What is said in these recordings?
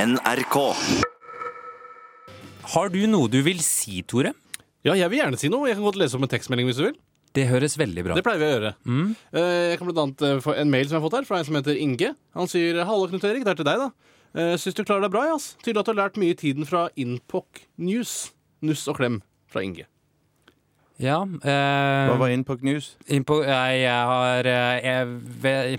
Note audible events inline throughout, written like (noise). NRK. Har du noe du vil si, Tore? Ja, jeg vil gjerne si noe. Jeg kan godt lese opp en tekstmelding hvis du vil. Det høres veldig bra Det pleier vi å gjøre. Eh, Jeg kan blant annet eh, få en mail som jeg har fått her fra en som heter Inge. Han sier 'Hallo, Knut Erik. Det er til deg, da. Eh, Syns du klarer deg bra, jass. Tydelig at du har lært mye i tiden fra Inpoc News. Nuss og klem fra Inge. Ja, eh, Hva var Inpoc News? innpå, jeg, jeg har eh, jeg, ve-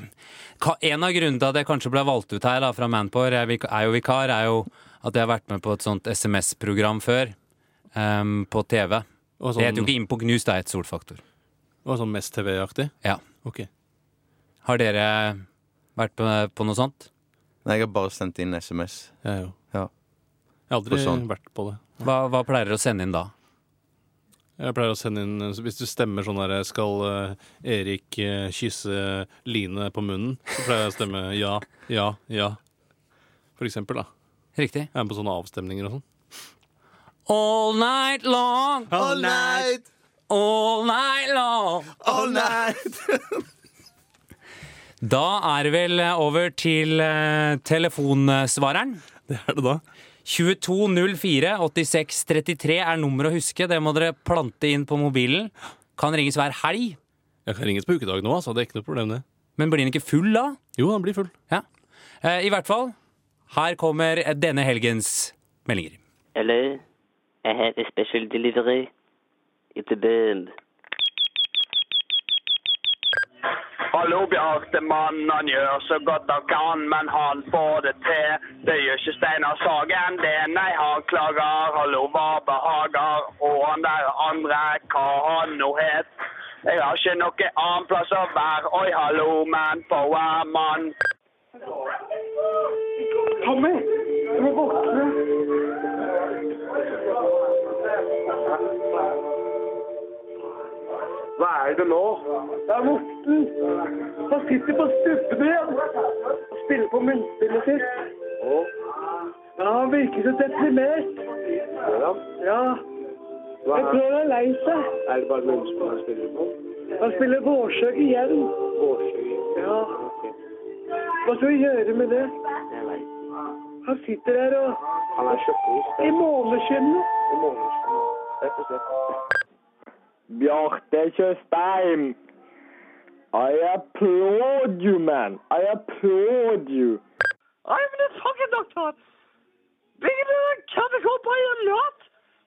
ka- En av grunnene til at jeg kanskje ble valgt ut her da, fra Manpower, jeg er vik- er jo vikar, er jo at jeg har vært med på et sånt SMS-program før. em, på TV. Og Det heter jo sånn, ikke Innpå Gnus, det er et solfaktor. og sånn Mest TV-aktig. Ja. Ok. Har dere vært på, på noe sånt? Nei, jeg har bare sendt inn SMS. Jeg er jo. Ja. Jeg har aldri Og sånn. vært på det. Hva, hva pleier dere å sende inn da? Jeg pleier å sende inn eh, Hvis du stemmer sånn der Skal eh, Erik eh, kysse Line på munnen? Så pleier jeg å stemme ja, ja, ja. For eksempel, da. Riktig. Jeg er med på sånne avstemninger og sånn. All night long, All night, all night long. all night! Da er det vel over til eh, telefonsvareren. Det er det da. 2204-8633 er nummeret å huske. Det må dere plante inn på mobilen. Kan ringes hver helg, Jeg kan ringes på ukedag nå, altså. Det er ikke noe problem, det. men blir den ikke full da? Jo, han blir full. Ja. Eh, I hvert fall, her kommer denne helgens meldinger. Hello, I have a special delivery. It's a bird. Hallo, Bjarte. Mannen gjør så godt han kan, men han får det til. Det gjør ikke Steinar Sagen, det. Nei, han klager. Hallo, hva behager? Og han der andre, hva han nå het? Jeg har ikke noe annen plass å være. Oi, hallo, man power, mann. Tommy, du må våkne. Hva er det nå? Det er Morten. Han sitter på stuppene igjen og spiller på munnspillet sitt. Ja, han virker så deprimert. Ja. Jeg tror han er lei seg. Er det bare munnspill han spiller på? Han spiller Vårsøg igjen. Vårsøg? Ja. Hva skal vi gjøre med det? Han sitter der og Han er sjokkerist. I måneskinnet. I måneskinnet. Rett og slett. Bjarte Tjøstheim. I applaud you, man. I applaud you. I'm the fucking doctor. Bigger than a chemical by a lot.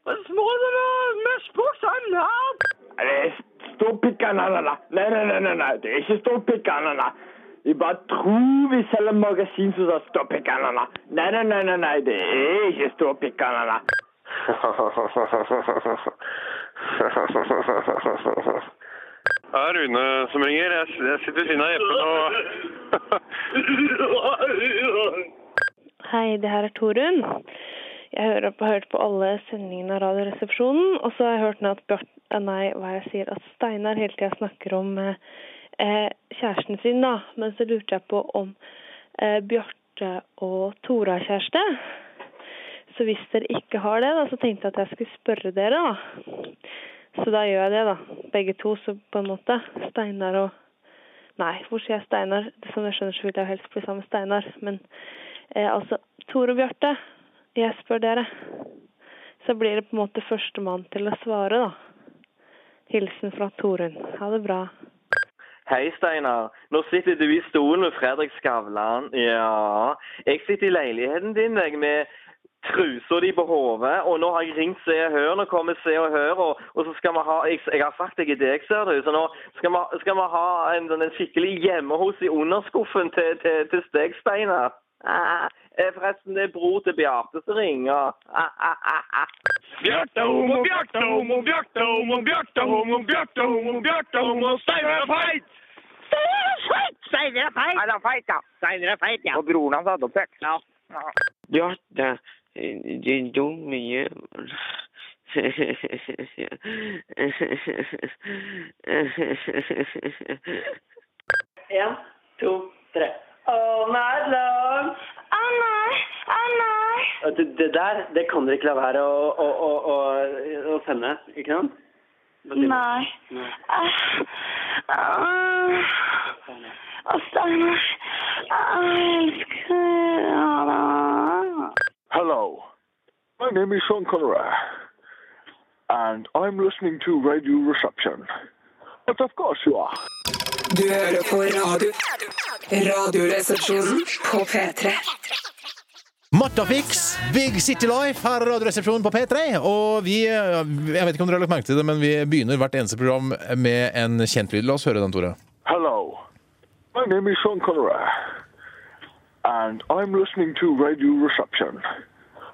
But smaller than a mesh box, I'm not. Det er stor pikk ananana. Nei, nei, nei, nei, nei. Det er ikke stor pikk ananana. Vi bare tror vi selger magasin som har stor pikk ananana. Nei, nei, nei, nei, nei. Det er ikke stor pikk ananana. Det er Rune som ringer. Jeg, jeg sitter ved siden av Jeppe nå. Hei, det her er Torunn. Jeg hører på, har hørt på alle sendingene av Radioresepsjonen, og så har jeg hørt nå at Bjart, eh, nei, hva jeg sier, at Steinar hele tida snakker om eh, eh, kjæresten sin, da. Men så lurte jeg på om eh, Bjarte og Tora er kjæreste. Så hvis dere ikke har det, da, så tenkte jeg at jeg skulle spørre dere, da. Så da gjør jeg det, da. Begge to, så på en måte. Steinar og Nei, hvor sier jeg Steinar? Som jeg skjønner, så vil jeg helst bli sammen med Steinar. Men eh, altså, Tore og Bjarte, jeg spør dere. Så blir det på en måte førstemann til å svare, da. Hilsen fra Torunn. Ha det bra. Hei, Steinar. Nå sitter du i stolen med Fredrik Skavlan. Ja, jeg sitter i leiligheten din jeg, med trusa di på hodet, og nå har jeg ringt Se og Hør. Nå kommer Se og Hør, og, og så skal vi ha jeg, jeg har sagt deg i deg, ser du, så nå skal vi, skal vi ha en, sånn en skikkelig hjemme hos i underskuffen til, til, til steg, Steinar. Ah, eh, forresten, det er bror til Bjarte som ringer. Ah, ah, ah, ah. Bjarte homo, Bjarte homo, Bjarte homo, Bjarte homo, Bjarte homo, Bjarte homo, Steinar er feit! Steinar er feit! Han er feit, ja. Steinar er feit, ja. Og broren hans hadde oppvekst. Ja. Bjarte, du dumme jævel. En, to, tre. All night long. All night, all night. Det, det der det kan dere ikke la være å, å, å, å, å sende, ikke sant? Nei. Ah, ah, ah, Steinar, ah, jeg elsker deg. my name is Shankara, and I'm listening to Radio Reception. But of course you are. Du hører på radio. Radioresepsjonen på P3. Mattafix, Big City Life her i Radioresepsjonen på P3. Og vi Jeg vet ikke om dere har lagt merke til det, men vi begynner hvert eneste program med en kjent lyd. La oss høre den, Tore. Hello, my name is Shankara, and I'm listening to Radio Reception.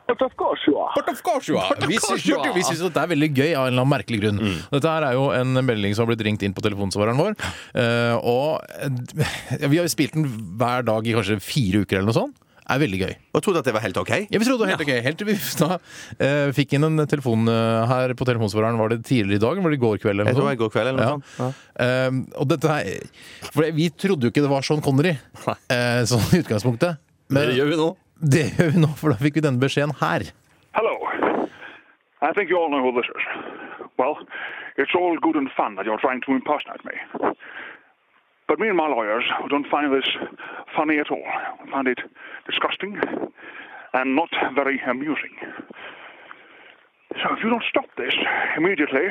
But of course you are. But of course you are. But of Vi course syns you are. vi syns at det er veldig gøy av en eller annen merkelig grunn. Mm. Dette her er jo en melding som har blitt ringt inn på telefonsvareren vår. eh, Og eh, vi har jo spilt den hver dag i kanskje fire uker eller noe sånt. Er veldig gøy. Og trodde at det var helt OK? Ja, vi trodde det var helt ok. Helt til vi (laughs) da, eh, fikk inn en telefon eh, her på telefonsvareren. Var det tidligere i dag? Var det i går kveld? Eller noe Jeg tror sånt? det var i går kveld eller noe sånt. Ja. Ehm, og dette her For vi trodde jo ikke det var Sean Connery, eh, sånn i utgangspunktet. Men gjør vi nå. det gjør vi nå, for da fikk vi denne beskjeden her. Hello. I think you all know who this is. Well, it's all good and fun that you're trying to impersonate me. But me and my lawyers don't find this funny at all. We find it disgusting and not very amusing. So if you don't stop this immediately,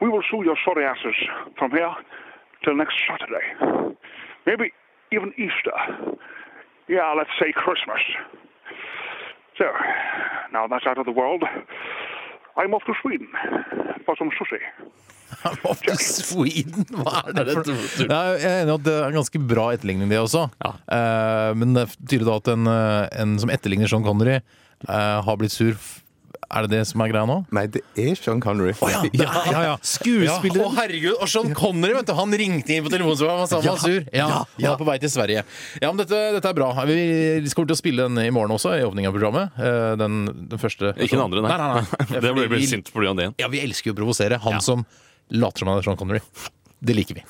we will sue your sorry asses from here till next Saturday. Maybe even Easter. Yeah, let's say Christmas. So, now that's out of the world, I'm off to Sweden for some sushi. (laughs) Off to Sweden, hva er det for Det Ja, Jeg er enig i at det er en ganske bra etterligning, det også. Eh, men det tyder da at en, eh, en som etterligner Sean Connery, eh, har blitt sur. F- Er det det som er greia nå? Nei, det er Sean Connery. Ja, ja, ja. Skuespiller. Ja, å, herregud, og Sean Connery, vet du. Han ringte inn på telefonen så han var sammen, Ja, var sur. Ja, ja, Han var på vei til Sverige. Ja, men dette, dette er bra. Vi kommer til å spille den i morgen også, i åpningen av programmet. Eh, Den, den første. Ikke den andre, nei. nei, nei, nei. (laughs) Det blir Fordi vi vi- sint på grunn av det igjen. Ja, vi elsker jo å provosere. Han som later som han er Sean Connery. Det liker vi.